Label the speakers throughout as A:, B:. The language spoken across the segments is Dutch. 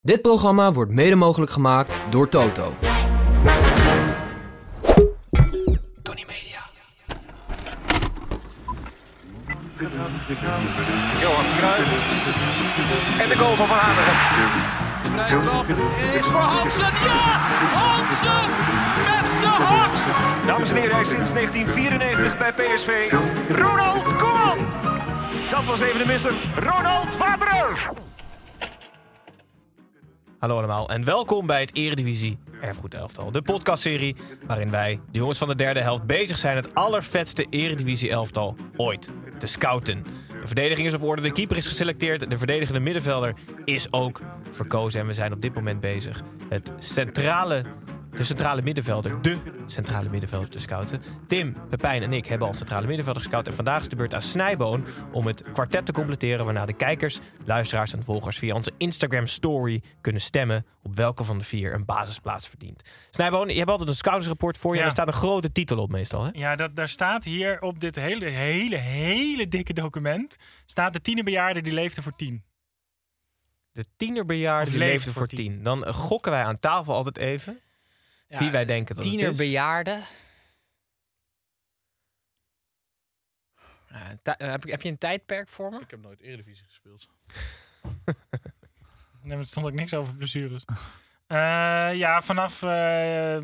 A: Dit programma wordt mede mogelijk gemaakt door Toto. Tony Media.
B: Johan Cruijff. En de goal van Van Hanegem.
C: De vrije trap is voor Hansen. Ja! Hansen met de hak!
B: Dames en heren, hij is sinds 1994 bij PSV. Ronald Koeman! Dat was even de mister. Ronald Waterer!
D: Hallo allemaal en welkom bij het Eredivisie Erfgoed Elftal. De podcastserie waarin wij, de jongens van de derde helft, bezig zijn het allervetste Eredivisie Elftal ooit te scouten. De verdediging is op orde, de keeper is geselecteerd, de verdedigende middenvelder is ook verkozen. En we zijn op dit moment bezig het centrale, de centrale middenvelder, de centrale middenvelder te scouten. Tim, Pepijn en ik hebben al centrale middenvelder gescout. En vandaag is de beurt aan Snijboon om het kwartet te completeren. Waarna de kijkers, luisteraars en volgers via onze Instagram story kunnen stemmen. op welke van de vier een basisplaats verdient. Snijboon, je hebt altijd een scoutingsrapport voor je.
E: Ja.
D: En daar staat een grote titel op meestal. Hè?
E: Ja, dat, daar staat hier op dit hele, hele, hele dikke document... staat de tienerbejaarde die leefde voor tien.
D: De tienerbejaarde
E: Of
D: die
E: leeft
D: leefde voor
E: voor
D: tien. Dan eh, gokken wij aan tafel altijd even wie wij denken dat het is.
F: Tienerbejaarden. Nou, ti- eh, heb, ik- heb je een tijdperk voor me?
G: Ik heb nooit Eredivisie gespeeld.
E: Nee, maar er stond ook niks over blessures. Eh, ja, vanaf eh,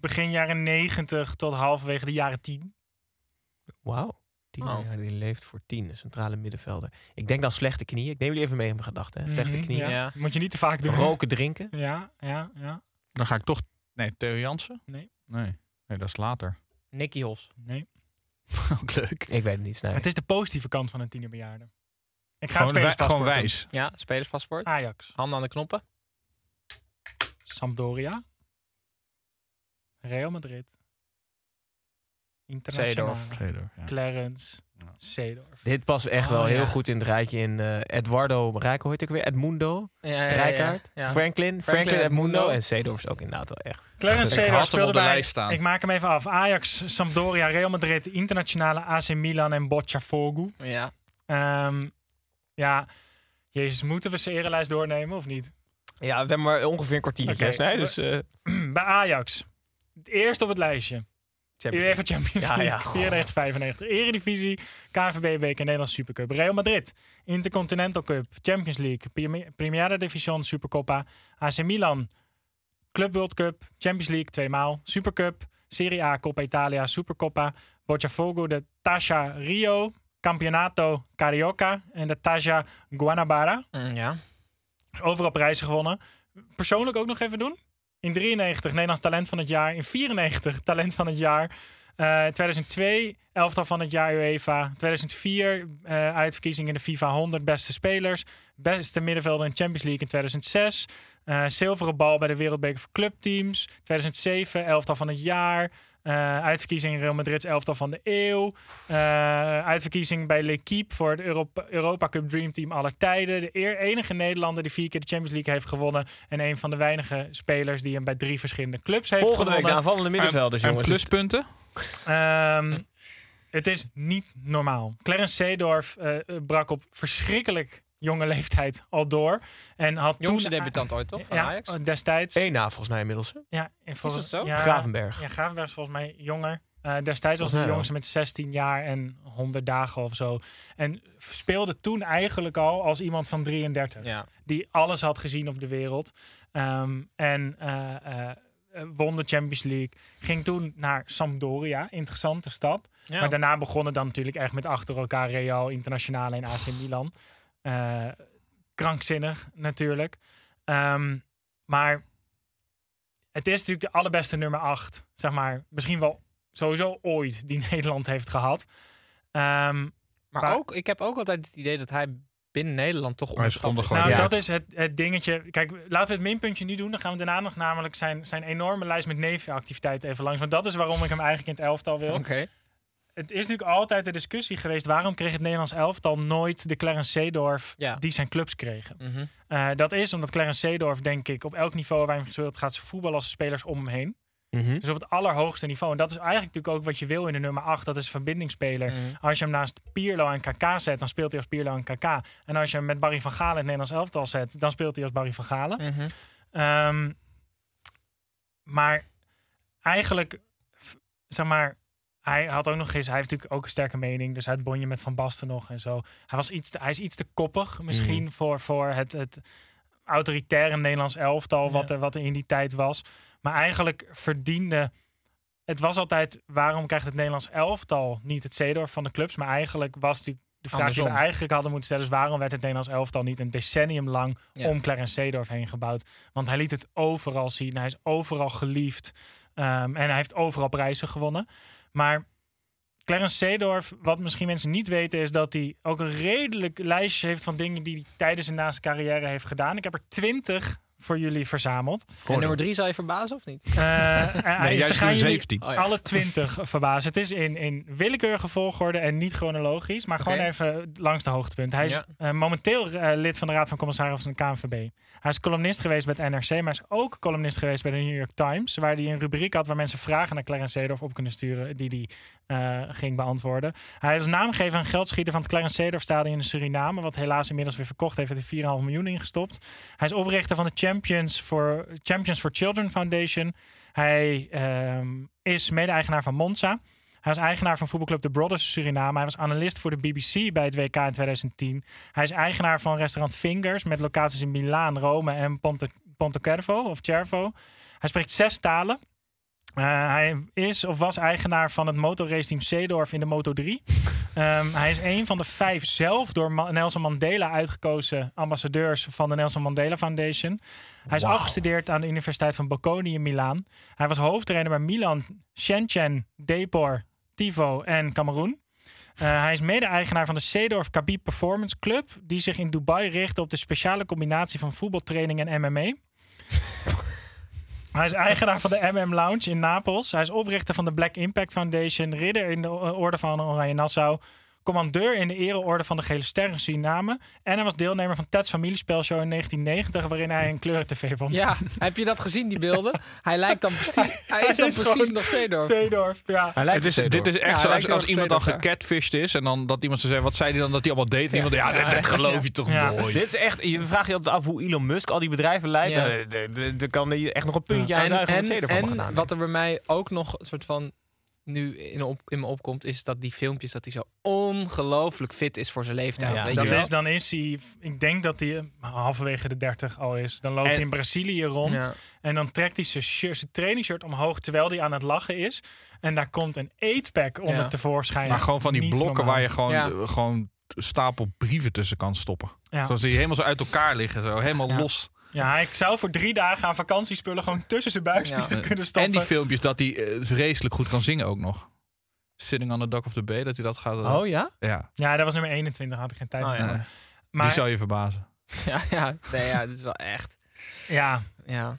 E: begin jaren negentig tot halverwege de jaren tien.
D: Wauw. Tienerbejaarde die leeft voor tien. Een centrale middenvelder. Ik denk dan slechte knieën. Ik neem jullie even mee in mijn gedachten. hè. Slechte
E: Mhm,
D: knieën.
E: Ja.
F: ja.
E: Moet je niet te vaak doen.
D: Roken, drinken.
E: Ja, ja, ja.
G: Dan ga ik toch... Nee, Theo Jansen?
E: Nee.
G: Nee, nee dat is later.
F: Nicky Hofs.
E: Nee.
G: Ook leuk.
D: Ik weet het niet, Snijboon.
E: Het is de positieve kant van een tienerbejaarde. Ik ga
G: Gewoon, wij-
E: het
G: gewoon wijs.
F: Ja, spelerspaspoort.
E: Ajax.
F: Handen aan de knoppen.
E: Sampdoria. Real Madrid. Internationaal.
F: Seedorf.
G: Tweede, ja.
E: Clarence. Seedorf.
D: Dit past echt
F: Oh,
D: wel heel
F: ja.
D: goed in het rijtje in eh, Eduardo Rijko, heet ik weer? Edmundo,
F: Ja, ja, ja, ja.
D: Rijkaard,
F: Eh, Ja.
D: Franklin, Franklin,
F: Franklin,
D: Edmundo
F: Edmundo.
D: en Seedorf is ook inderdaad wel echt.
E: Clarence
G: Ik
E: Seedorf
G: had hem
E: speelde
G: op de
E: bij...
G: lijst staan.
E: Ik maak hem even af. Ajax, Sampdoria, Real Madrid, Internationale, AC Milan en Botafogo.
F: Ja.
E: Ehm ja, jezus, moeten we zijn erenlijst doornemen of niet?
D: Ja, we hebben maar ongeveer een kwartiertje.
E: Oké.
D: hè, Snij, dus, eh,
E: bij Ajax. Het eerste op het lijstje.
D: Champions League.
E: UEFA Champions
D: Ja,
E: League.
D: ja.
E: 94, 95. Eredivisie, KVB Beker, Nederlandse Supercup. Real Madrid, Intercontinental Cup, Champions League, Prime- Primera Division, Supercoppa. AC Milan, Club World Cup, Champions League tweemaal, Supercup, Serie A, Coppa Italia, Supercoppa, Botafogo, de Tasha Rio, Campeonato Carioca en de Tasha Guanabara.
F: Mm, ja.
E: Overal prijzen gewonnen. Persoonlijk ook nog even doen. In 93 Nederlands talent van het jaar. In 94 talent van het jaar. Eh, 2002 elftal van het jaar UEFA. 2004 eh, uitverkiezing in de FIFA 100 beste spelers. Beste middenvelder in Champions League in 2006. Eh, zilveren bal bij de Wereldbeker voor clubteams. 2007 elftal van het jaar. Eh, uitverkiezing Real Madrid's elftal van de eeuw. Eh, uitverkiezing bij L'Equipe voor het Europa, Europa Cup Dream Team aller tijden. De eer- enige Nederlander die vier keer de Champions League heeft gewonnen. En een van de weinige spelers die hem bij drie verschillende clubs heeft
D: Volgende week de
E: gewonnen.
D: aanvallende middenvelders,
G: en, en
D: jongens.
G: pluspunten?
E: Ehm, het is niet normaal. Clarence Seedorf eh, brak op verschrikkelijk jonge leeftijd al door. en had
F: Jongste
E: toen
F: debutant ooit, toch? Van
E: ja, Oh,
F: Ajax?
E: destijds.
D: Eén na volgens mij inmiddels. hè?
E: Ja, en volgens,
F: dat zo?
E: Ja,
D: Gravenberg.
E: Ja, Gravenberg is volgens mij jonger. Eh, destijds was
D: Volgens mij
E: hij de
D: wel.
E: jongste met 16 jaar en 100 dagen of zo. En speelde toen eigenlijk al als iemand van 33.
F: Ja.
E: Die alles had gezien op de wereld. Ehm, en eh, eh, won de Champions League. Ging toen naar Sampdoria. Interessante stap.
F: Ja.
E: Maar daarna begonnen dan natuurlijk echt met achter elkaar Real, Internationale en AC Milan. Eh, krankzinnig natuurlijk. Ehm, maar het is natuurlijk de allerbeste nummer 8. Zeg maar, misschien wel sowieso ooit die Nederland heeft gehad. Ehm,
F: maar
E: maar-
F: ook, ik heb ook altijd het idee dat hij binnen Nederland toch
G: hij is
F: onderschat. is.
G: ondergewaardeerd.
D: Ja.
E: Nou, dat is het, het dingetje. Kijk, laten we het minpuntje nu doen. Dan gaan we daarna nog namelijk zijn, zijn enorme lijst met nevenactiviteiten even langs. Want dat is waarom ik hem eigenlijk in het elftal wil.
F: Oké.
E: Het is natuurlijk altijd de discussie geweest... waarom kreeg het Nederlands elftal nooit de Clarence Seedorf...
F: Ja.
E: die zijn clubs kregen.
F: Mhm.
E: Eh, dat is omdat Clarence Seedorf, denk ik, op elk niveau waar hij hem gespeeld... gaat ze voetballen als de spelers om hem heen.
D: Mhm.
E: Dus op het allerhoogste niveau. En dat is eigenlijk natuurlijk ook wat je wil in de nummer 8. Dat is een verbindingsspeler.
F: Mhm.
E: Als je hem naast Pierlo en KK zet, dan speelt hij als Pierlo en KK. En als je hem met Barry van Galen in het Nederlands elftal zet, dan speelt hij als Barry van Galen.
F: Mhm.
E: Ehm, maar eigenlijk, f- zeg maar, hij had ook nog eens, hij heeft natuurlijk ook een sterke mening. Dus hij had bonje met Van Basten nog en zo. Hij, was iets te- hij is iets te koppig misschien
F: Mhm.
E: voor, voor het, het autoritaire Nederlands elftal wat,
F: Ja.
E: er, wat er in die tijd was. Maar eigenlijk verdiende, het was altijd waarom krijgt het Nederlands elftal niet het zeedorf van de clubs. Maar eigenlijk was die, de vraag die we
F: Andersom.
E: eigenlijk hadden moeten stellen is waarom werd het Nederlands elftal niet een decennium lang
F: Ja.
E: om Clarence Seedorf heen gebouwd. Want hij liet het overal zien. Hij is overal geliefd. Ehm, en hij heeft overal prijzen gewonnen. Maar Clarence Seedorf, wat misschien mensen niet weten, is dat hij ook een redelijk lijstje heeft van dingen die hij tijdens en na zijn carrière heeft gedaan. Ik heb er twintig voor jullie verzameld.
F: En nummer drie zal je verbazen of niet?
E: Eh, en- en
G: Nee,
E: ze
G: juist
E: gaan
G: nummer
E: jullie
G: 17.
F: Oh ja.
E: alle twintig verbazen. Het is in, in willekeurige volgorde en niet chronologisch, maar gewoon
F: Oké.
E: even langs de hoogtepunten. Hij is
F: Ja.
E: eh, momenteel eh, lid van de Raad van Commissarissen van de KNVB. Hij is columnist geweest bij het NRC, maar hij is ook columnist geweest bij de New York Times, waar hij een rubriek had waar mensen vragen naar Clarence Seedorf op kunnen sturen, die die eh, ging beantwoorden. Hij was naamgever en geldschieter van het Clarence Seedorf Stadion in Suriname, wat helaas inmiddels weer verkocht heeft, heeft hij 4,5 miljoen ingestopt. Hij is oprichter van de Champions for, Champions for Children Foundation. Hij ehm, is mede-eigenaar van Monza. Hij is eigenaar van voetbalclub De Brothers in Suriname. Hij was analist voor de BBC bij het WK in 2010. Hij is eigenaar van restaurant Fingers met locaties in Milaan, Rome en Ponte, Pontecervo of Cervo. Hij spreekt zes talen. Eh, hij is of was eigenaar van het motorrace team Seedorf in de Moto3. Ehm, hij is een van de vijf zelf door Ma- Nelson Mandela uitgekozen ambassadeurs van de Nelson Mandela Foundation. Hij is afgestudeerd aan de Universiteit van Bocconi in Milaan. Hij was hoofdtrainer bij Milan, Shenzhen, Depor, Tivo en Cameroen. Eh, hij is mede-eigenaar van de Seedorf Kabib Performance Club, die zich in Dubai richt op de speciale combinatie van voetbaltraining en MMA. Hij is eigenaar van de MM Lounge in Napels. Hij is oprichter van de Black Impact Foundation, ridder in de o- Orde van Oranje Nassau, commandeur in de Ereorde van de Gele Ster in Suriname en hij was deelnemer van Ted's Familiespelshow in 1990, waarin hij een kleur-tv won.
F: Ja, heb je dat gezien, die beelden? Hij lijkt dan precies, hij is dan
E: is
F: precies
E: gewoon
F: nog Zeedorf.
E: Seedorf, ja.
D: Hij
G: Het
D: lijkt
G: is,
D: het
G: dit is
F: Ja,
G: echt
F: hij
G: zo
F: lijkt
G: als, als
F: heel
G: iemand dan
F: erg verder,
G: gecatfished is en dan dat iemand zou zeggen, wat zei hij dan dat hij allemaal deed? Iemand, ja, dat, dat geloof je toch
E: Ja.
G: nooit.
D: Dit is echt, je vraagt je altijd af hoe Elon Musk al die bedrijven leidt.
F: Ja.
D: Nou, d- d- d- Dan kan hij echt nog een puntje aan
F: En,
D: zuigen wat ze
F: en,
D: ervan hebben gedaan.
F: en wat er bij mij ook nog een soort van nu in, op, in me opkomt, is dat die filmpjes dat hij zo ongelooflijk fit is voor zijn leeftijd.
D: Ja,
F: weet
E: Dat
F: je wel?
E: is, dan is hij, ik denk dat hij eh, halverwege de 30 al is. Dan loopt
D: En-
E: hij in Brazilië rond
F: Ja.
E: en dan trekt hij zijn, shirt, zijn trainingshirt omhoog terwijl hij aan het lachen is. En daar komt een eetpack onder
F: Ja.
E: tevoorschijn.
G: Maar gewoon van die
E: Niet
G: blokken
E: normaal.
G: waar je gewoon,
F: Ja.
G: eh, gewoon een stapel brieven tussen kan stoppen.
E: Ja.
G: Zoals die helemaal zo uit elkaar liggen, zo helemaal
F: Ja.
G: los.
E: Ja, ik zou voor drie dagen aan vakantiespullen gewoon tussen zijn buikspieren
F: Ja.
E: kunnen stoppen.
G: En die filmpjes dat hij eh, vreselijk goed kan zingen ook nog. Sitting on the Dock of the Bay, dat hij dat gaat... eh,
D: Oh ja?
G: Ja,
E: ja, dat was nummer 21, had ik geen tijd
F: Oh,
E: meer.
F: ja.
G: eh,
E: Maar
G: die zou je verbazen.
F: ja, ja, nee, ja, dat is wel echt.
E: ja,
F: Ja.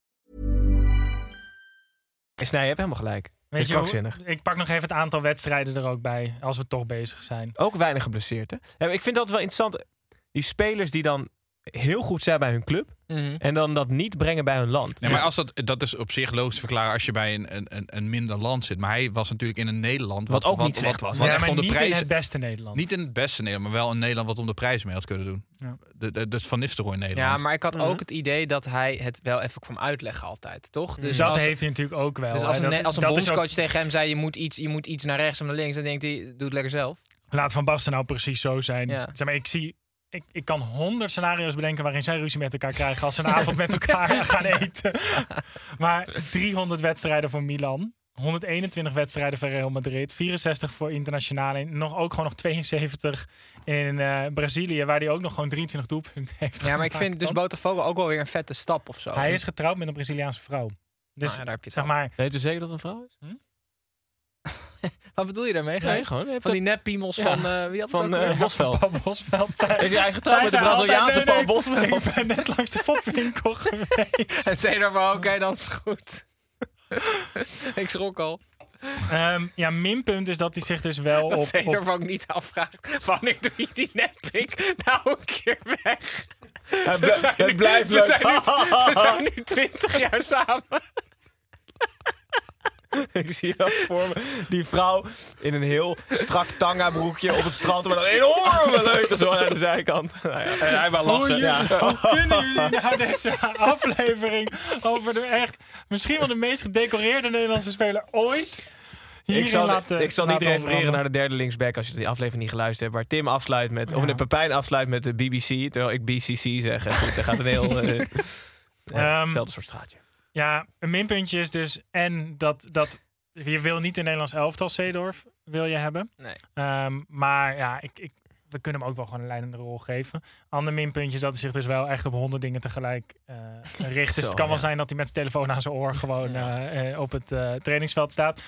D: En Snij, je hebt helemaal gelijk. Het
E: weet
D: is
E: je hoe-
D: krankzinnig.
E: ik pak nog even het aantal wedstrijden er ook bij, als we toch bezig zijn.
D: Ook weinig geblesseerd, hè? Ja, maar ik vind dat wel interessant. Die spelers die dan heel goed zijn bij hun club...
F: Mhm.
D: en dan dat niet brengen bij hun land.
G: Nee,
D: Dus-
G: maar als dat, dat is op zich logisch te verklaren als je bij een, een- een, een minder land zit. Maar hij was natuurlijk in een Nederland...
D: Wat ook niet slecht was.
G: Wat
E: ja,
G: echt
E: maar
G: om de
E: niet in
G: prijs...
E: het beste Nederland.
G: Niet in het beste Nederland, maar wel in Nederland wat om de prijzen mee had kunnen doen.
E: Ja.
G: De- de- Dus Van Nistelrooy in Nederland.
F: ja, maar ik had
E: Mhm.
F: ook het idee dat hij het wel even kwam uitleggen altijd, toch?
D: Mhm.
F: Dus
E: dus dat
F: als-
E: heeft hij natuurlijk ook wel.
F: Dus als
E: En
F: een,
E: dat-
F: als een
E: dat is ook-
F: bondscoach tegen hem zei, je moet, iets, je moet iets naar rechts of naar links, dan denkt hij, doe het lekker zelf.
E: Laat Van Basten nou precies zo zijn.
F: Ja.
E: Zeg maar, ik zie... Ik, ik kan honderd scenario's bedenken waarin zij ruzie met elkaar krijgen als ze een avond met elkaar gaan eten. maar 300 wedstrijden voor Milan, 121 wedstrijden voor Real Madrid, 64 voor internationale, en nog ook gewoon nog 72 in eh, Brazilië, waar hij ook nog gewoon 23 doelpunten heeft.
F: Ja, maar ik
E: gemaakt
F: vind dus
E: dan.
F: Botafogo ook wel weer een vette stap of zo.
E: Hij is getrouwd met een Braziliaanse vrouw. Dus
F: Nou ja, daar heb je het
E: zeg
F: al.
E: maar,
D: Weet u zeker dat het een vrouw is?
F: Wat bedoel je daarmee? Gijs?
D: gewoon. je hebt
F: Van
D: dat-
F: die neppiemels
D: Ja.
F: van... eh, wie had het ook
D: Van
F: weer?
D: eh, Bosveld.
E: Paul Bosveld zei...
D: Is hij getrouwd
E: Zij
D: met de
E: zei altijd,
D: Braziliaanse
E: nee, nee,
D: Paul Bosveld?
E: Ik ben net langs de fopwinkel geweest.
F: En zei daarvan, oké, dan is het goed. ik schrok al.
E: Ehm, ja, minpunt is dat hij zich dus wel
F: Dat
E: op...
F: zij
E: op-
F: daarvan ook niet afvraagt. Wanneer doe je die neppik nou een keer weg?
D: Het
F: We
D: bl-
F: zijn nu-
D: Het blijft
F: we zijn, nu, we zijn
D: leuk.
F: nu 20 jaar samen.
D: Ik zie dat voor me. Die vrouw in een heel strak tanga broekje op het strand. Maar dan enorme leuter zo aan de zijkant. Nou ja, en hij maar lachen. Ja.
E: Kunnen jullie nou deze aflevering over de echt... Misschien wel de meest gedecoreerde Nederlandse speler ooit...
D: Ik
E: hierin
D: zal,
E: laten,
D: ik zal niet
E: laten
D: refereren
E: overhandigen?
D: naar de derde linksback als je die aflevering niet geluisterd hebt. Waar Tim afsluit met, of nee, Pepijn afsluit met de BBC. Terwijl ik BCC zeg. En Goed, daar gaat een heel... eh, ja,
E: Ehm,
D: Hetzelfde soort straatje.
E: Ja, een minpuntje is dus... En dat, dat je wil niet een Nederlands elftal Seedorf wil je hebben.
F: Nee.
E: Ehm, maar ja, ik, ik, we kunnen hem ook wel gewoon een leidende rol geven. Ander minpuntje is dat hij zich dus wel echt op honderd dingen tegelijk eh, richt. Dus
D: Zo,
E: het kan wel
D: ja.
E: zijn dat hij met zijn telefoon aan zijn oor gewoon eh, eh, op het eh, trainingsveld staat.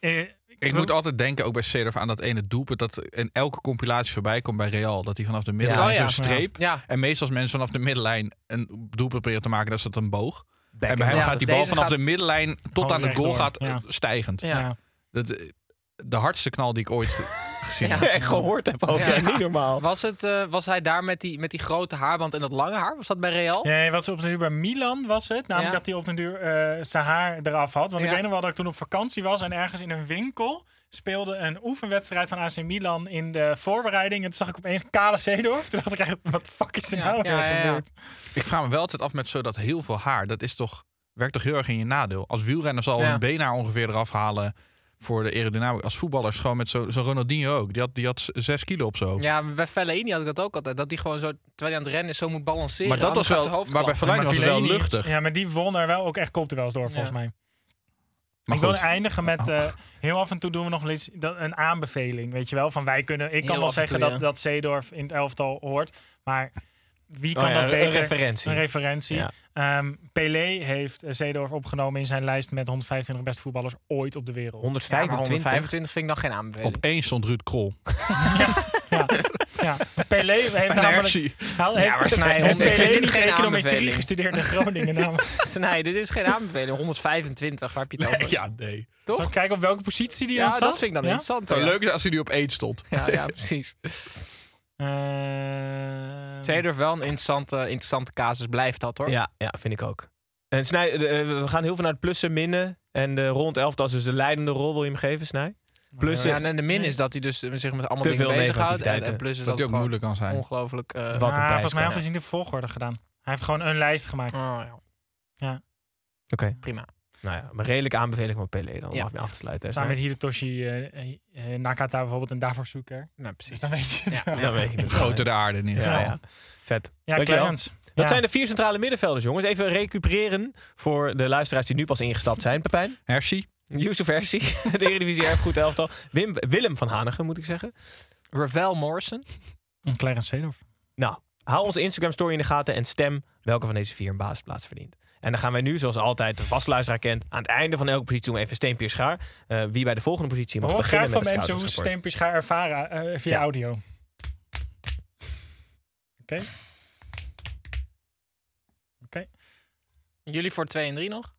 E: Eh,
G: Ik moet altijd denken, ook bij Cedorf, aan dat ene doelpunt dat in elke compilatie voorbij komt bij Real. Dat hij vanaf de middenlijn
F: Oh ja.
G: zo'n streep.
F: Ja.
G: En meestal als mensen vanaf de middenlijn een doelpunt proberen te maken, dat is dat een boog. en bij hem
F: Ja,
G: gaat die bal
F: deze
G: vanaf
F: gaat-
G: de middenlijn tot
E: Gewoon
G: aan de goal
E: rechtdoor,
G: gaat eh,
E: ja.
G: stijgend.
F: Ja.
G: Dat, eh, de hardste knal die ik ooit gezien heb.
D: Ja, en gehoord heb ook.
F: Ja.
D: Ja, niet normaal.
F: Was, het, eh, was hij daar met die, met die grote haarband en dat lange haar? Was dat bij Real?
E: Nee, wat ze op de duur bij Milan was het. Namelijk
F: Oh. Ja.
E: dat hij op den duur eh, zijn haar eraf had. Want ik
F: Ja.
E: weet nog wel dat ik toen op vakantie was en ergens in een winkel speelde een oefenwedstrijd van AC Milan in de voorbereiding. En toen zag ik opeens Kale Seedorf. Toen dacht ik echt, wat de fuck is er
F: Ja,
E: nou
F: ja,
E: weer
F: ja, ja.
E: gebeurd?
G: Ik vraag me wel altijd af met zo dat heel veel haar. Dat is toch, werkt toch heel erg in je nadeel. Als wielrenners al
F: Ja.
G: hun beenhaar ongeveer eraf halen voor de aerodynamica. Als voetballers gewoon met zo- zo'n Ronaldinho ook. Die had, die had z- zes kilo op zo.
F: Ja, maar bij Fellaini had ik dat ook altijd. Dat die gewoon zo, terwijl hij aan het rennen is, zo moet balanceren.
G: Maar dat was
F: anders gaat
G: wel,
F: zijn
G: maar bij
F: dus hoofd klappen.
G: Verlijn was het
E: Fellaini-
G: wel luchtig.
E: Ja, maar die won er wel ook echt kopduels door, volgens
F: Ja.
E: mij.
G: Maar
E: ik wil
G: goed. Oh.
E: eindigen met, eh, heel af en toe doen we nog wel eens dat, een aanbeveling, weet je wel. Van wij kunnen, ik kan
F: Heel
E: wel
F: af en toe,
E: zeggen
F: ja.
E: dat, dat Zeedorf in het elftal hoort, maar wie kan
D: Oh ja,
E: dat
D: een
E: beter?
D: referentie.
E: Een referentie.
D: Ja.
E: Ehm, Pelé heeft eh, Zeedorf opgenomen in zijn lijst met 125 beste voetballers ooit op de wereld.
D: 125.
F: 125 vind ik nog geen aanbeveling.
G: Op één stond Ruud Krol.
E: Ja, ja. Pelé heeft namelijk...
G: Hersie.
E: Hij heeft,
F: maar Snij,
E: heeft
F: honderd- ik vind
E: Pelé
F: dit
E: niet
F: geen
E: econometrie
F: aanbeveling.
E: gestudeerd in Groningen namelijk.
F: Nee, dit is geen aanbeveling. 125, waar heb je het over?
G: Ja, nee.
E: Zal ik kijken op welke positie die
F: Ja,
E: aan zat?
F: dat vind ik dan
E: Ja?
F: interessant.
G: Het
F: ja.
G: zou leuk zijn als hij nu op één stond.
F: Ja, ja, precies.
E: Ehm,
F: Zeedorf wel een interessante, interessante casus blijft dat hoor.
D: Ja, ja, vind ik ook. En Snij, eh, we gaan heel veel naar het plussen, minnen. En de rond elftal is dus de leidende rol, wil je hem geven, Snij? Plussen,
F: Ja, en de min is dat hij dus eh, zich met allemaal
D: Te
F: dingen
D: veel
F: bezighoudt. En,
D: negativiteiten.
F: en plus is
G: Dat
F: dat,
G: hij ook
F: het gewoon
G: moeilijk kan zijn.
F: ongelooflijk... eh,
D: Wat een
E: Ah, volgens mij
D: prijs.
E: had hij het in de volgorde gedaan. Hij heeft gewoon een lijst gemaakt.
F: oh, ja,
D: Oké.
F: prima.
D: Nou ja, maar redelijke aanbeveling van Pelé dan om
F: Ja.
D: af- af te sluiten. hè,
E: Samen met
D: Snij?
E: Hidetoshi eh, eh, Nakata bijvoorbeeld en daarvoor Zoeker.
F: Nou, precies.
E: Dan weet je het wel.
D: Dan weet je het.
G: Groter de aarde in ieder
D: Ja,
G: geval.
D: ja. Vet.
E: Ja,
D: Dankjewel.
E: Clarence.
D: Dat
E: Ja.
D: zijn de vier centrale middenvelders, jongens. Even recupereren voor de luisteraars die nu pas ingestapt zijn. Pepijn,
G: Hersie.
D: Yusuf Versie, de Eredivisie Erfgoed Elftal. Wim, Willem van Hanegem, moet ik zeggen.
F: Ravel Morrison.
E: En Clarence Seedorf.
D: Nou, hou onze Instagram-story in de gaten en stem welke van deze vier een basisplaats verdient. En dan gaan wij nu, zoals altijd, de vastluisteraar kent, aan het einde van elke positie doen we even steen, papier, schaar. Eh, wie bij de volgende positie mag
E: Hoor
D: beginnen
E: graag van
D: met het
E: mensen hoe ze
D: scoutingsrapport.
E: steempjes gaan ervaren eh, via
D: Ja.
E: audio. Oké. Oké.
F: Jullie voor 2 en 3 nog.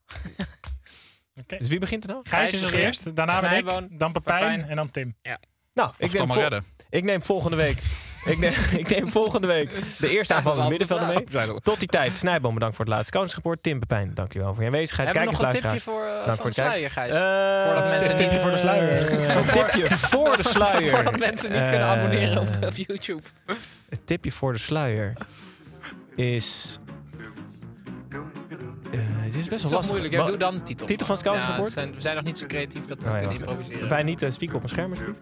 D: Dus wie begint er nou?
E: Gijs is
F: Gijs
E: als
F: begint.
E: eerst, daarna ben
F: Snijboon,
E: ik, dan Pepijn,
F: Pepijn.
E: en dan Tim.
D: Nou, ik
G: Ik
D: neem,
G: kan maar
D: vol-
G: redden.
D: ik neem volgende week. ik, neem, ik neem volgende week de eerste aanvallende
F: altijd
D: middenvelder mee.
G: Zijn er-
D: Tot die tijd, Snijboom, bedankt voor het laatste scoutingsrapport. Tim Pepijn, dankjewel voor je aanwezigheid.
F: Hebben we
D: Kijkers,
F: nog een tipje
D: luisteraars.
F: voor, eh,
D: Dank
F: van
D: voor
F: de
D: het kijken.
F: sluier, Gijs?
D: Eh,
F: Voordat mensen
E: Tipje niet- voor de sluier.
D: Een tipje voor de sluier.
F: Voordat mensen niet kunnen
D: Eh,
F: abonneren op, op YouTube.
D: Het tipje voor de sluier is. Eh, dit is best wel
F: Dat is
D: lastig.
F: moeilijk. hè?
D: Wa-
F: Doe dan de titel.
D: Titel van het
F: Ja,
D: scoutingsport?
F: we zijn- We zijn nog niet zo creatief dat we
D: Oh ja,
F: kunnen
D: wacht even.
F: improviseren.
D: Bij niet eh, spieken op mijn scherm, alsjeblieft.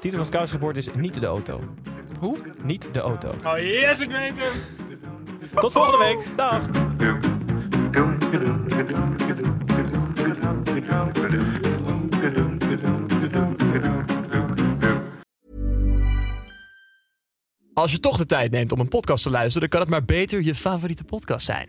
D: Titel van Scouts Report is Niet de auto.
F: Hoe?
D: Niet de auto.
E: Oh yes, ik weet hem.
D: Tot volgende week. Dag.
B: Als je toch de tijd neemt om een podcast te luisteren, dan kan het maar beter je favoriete podcast zijn.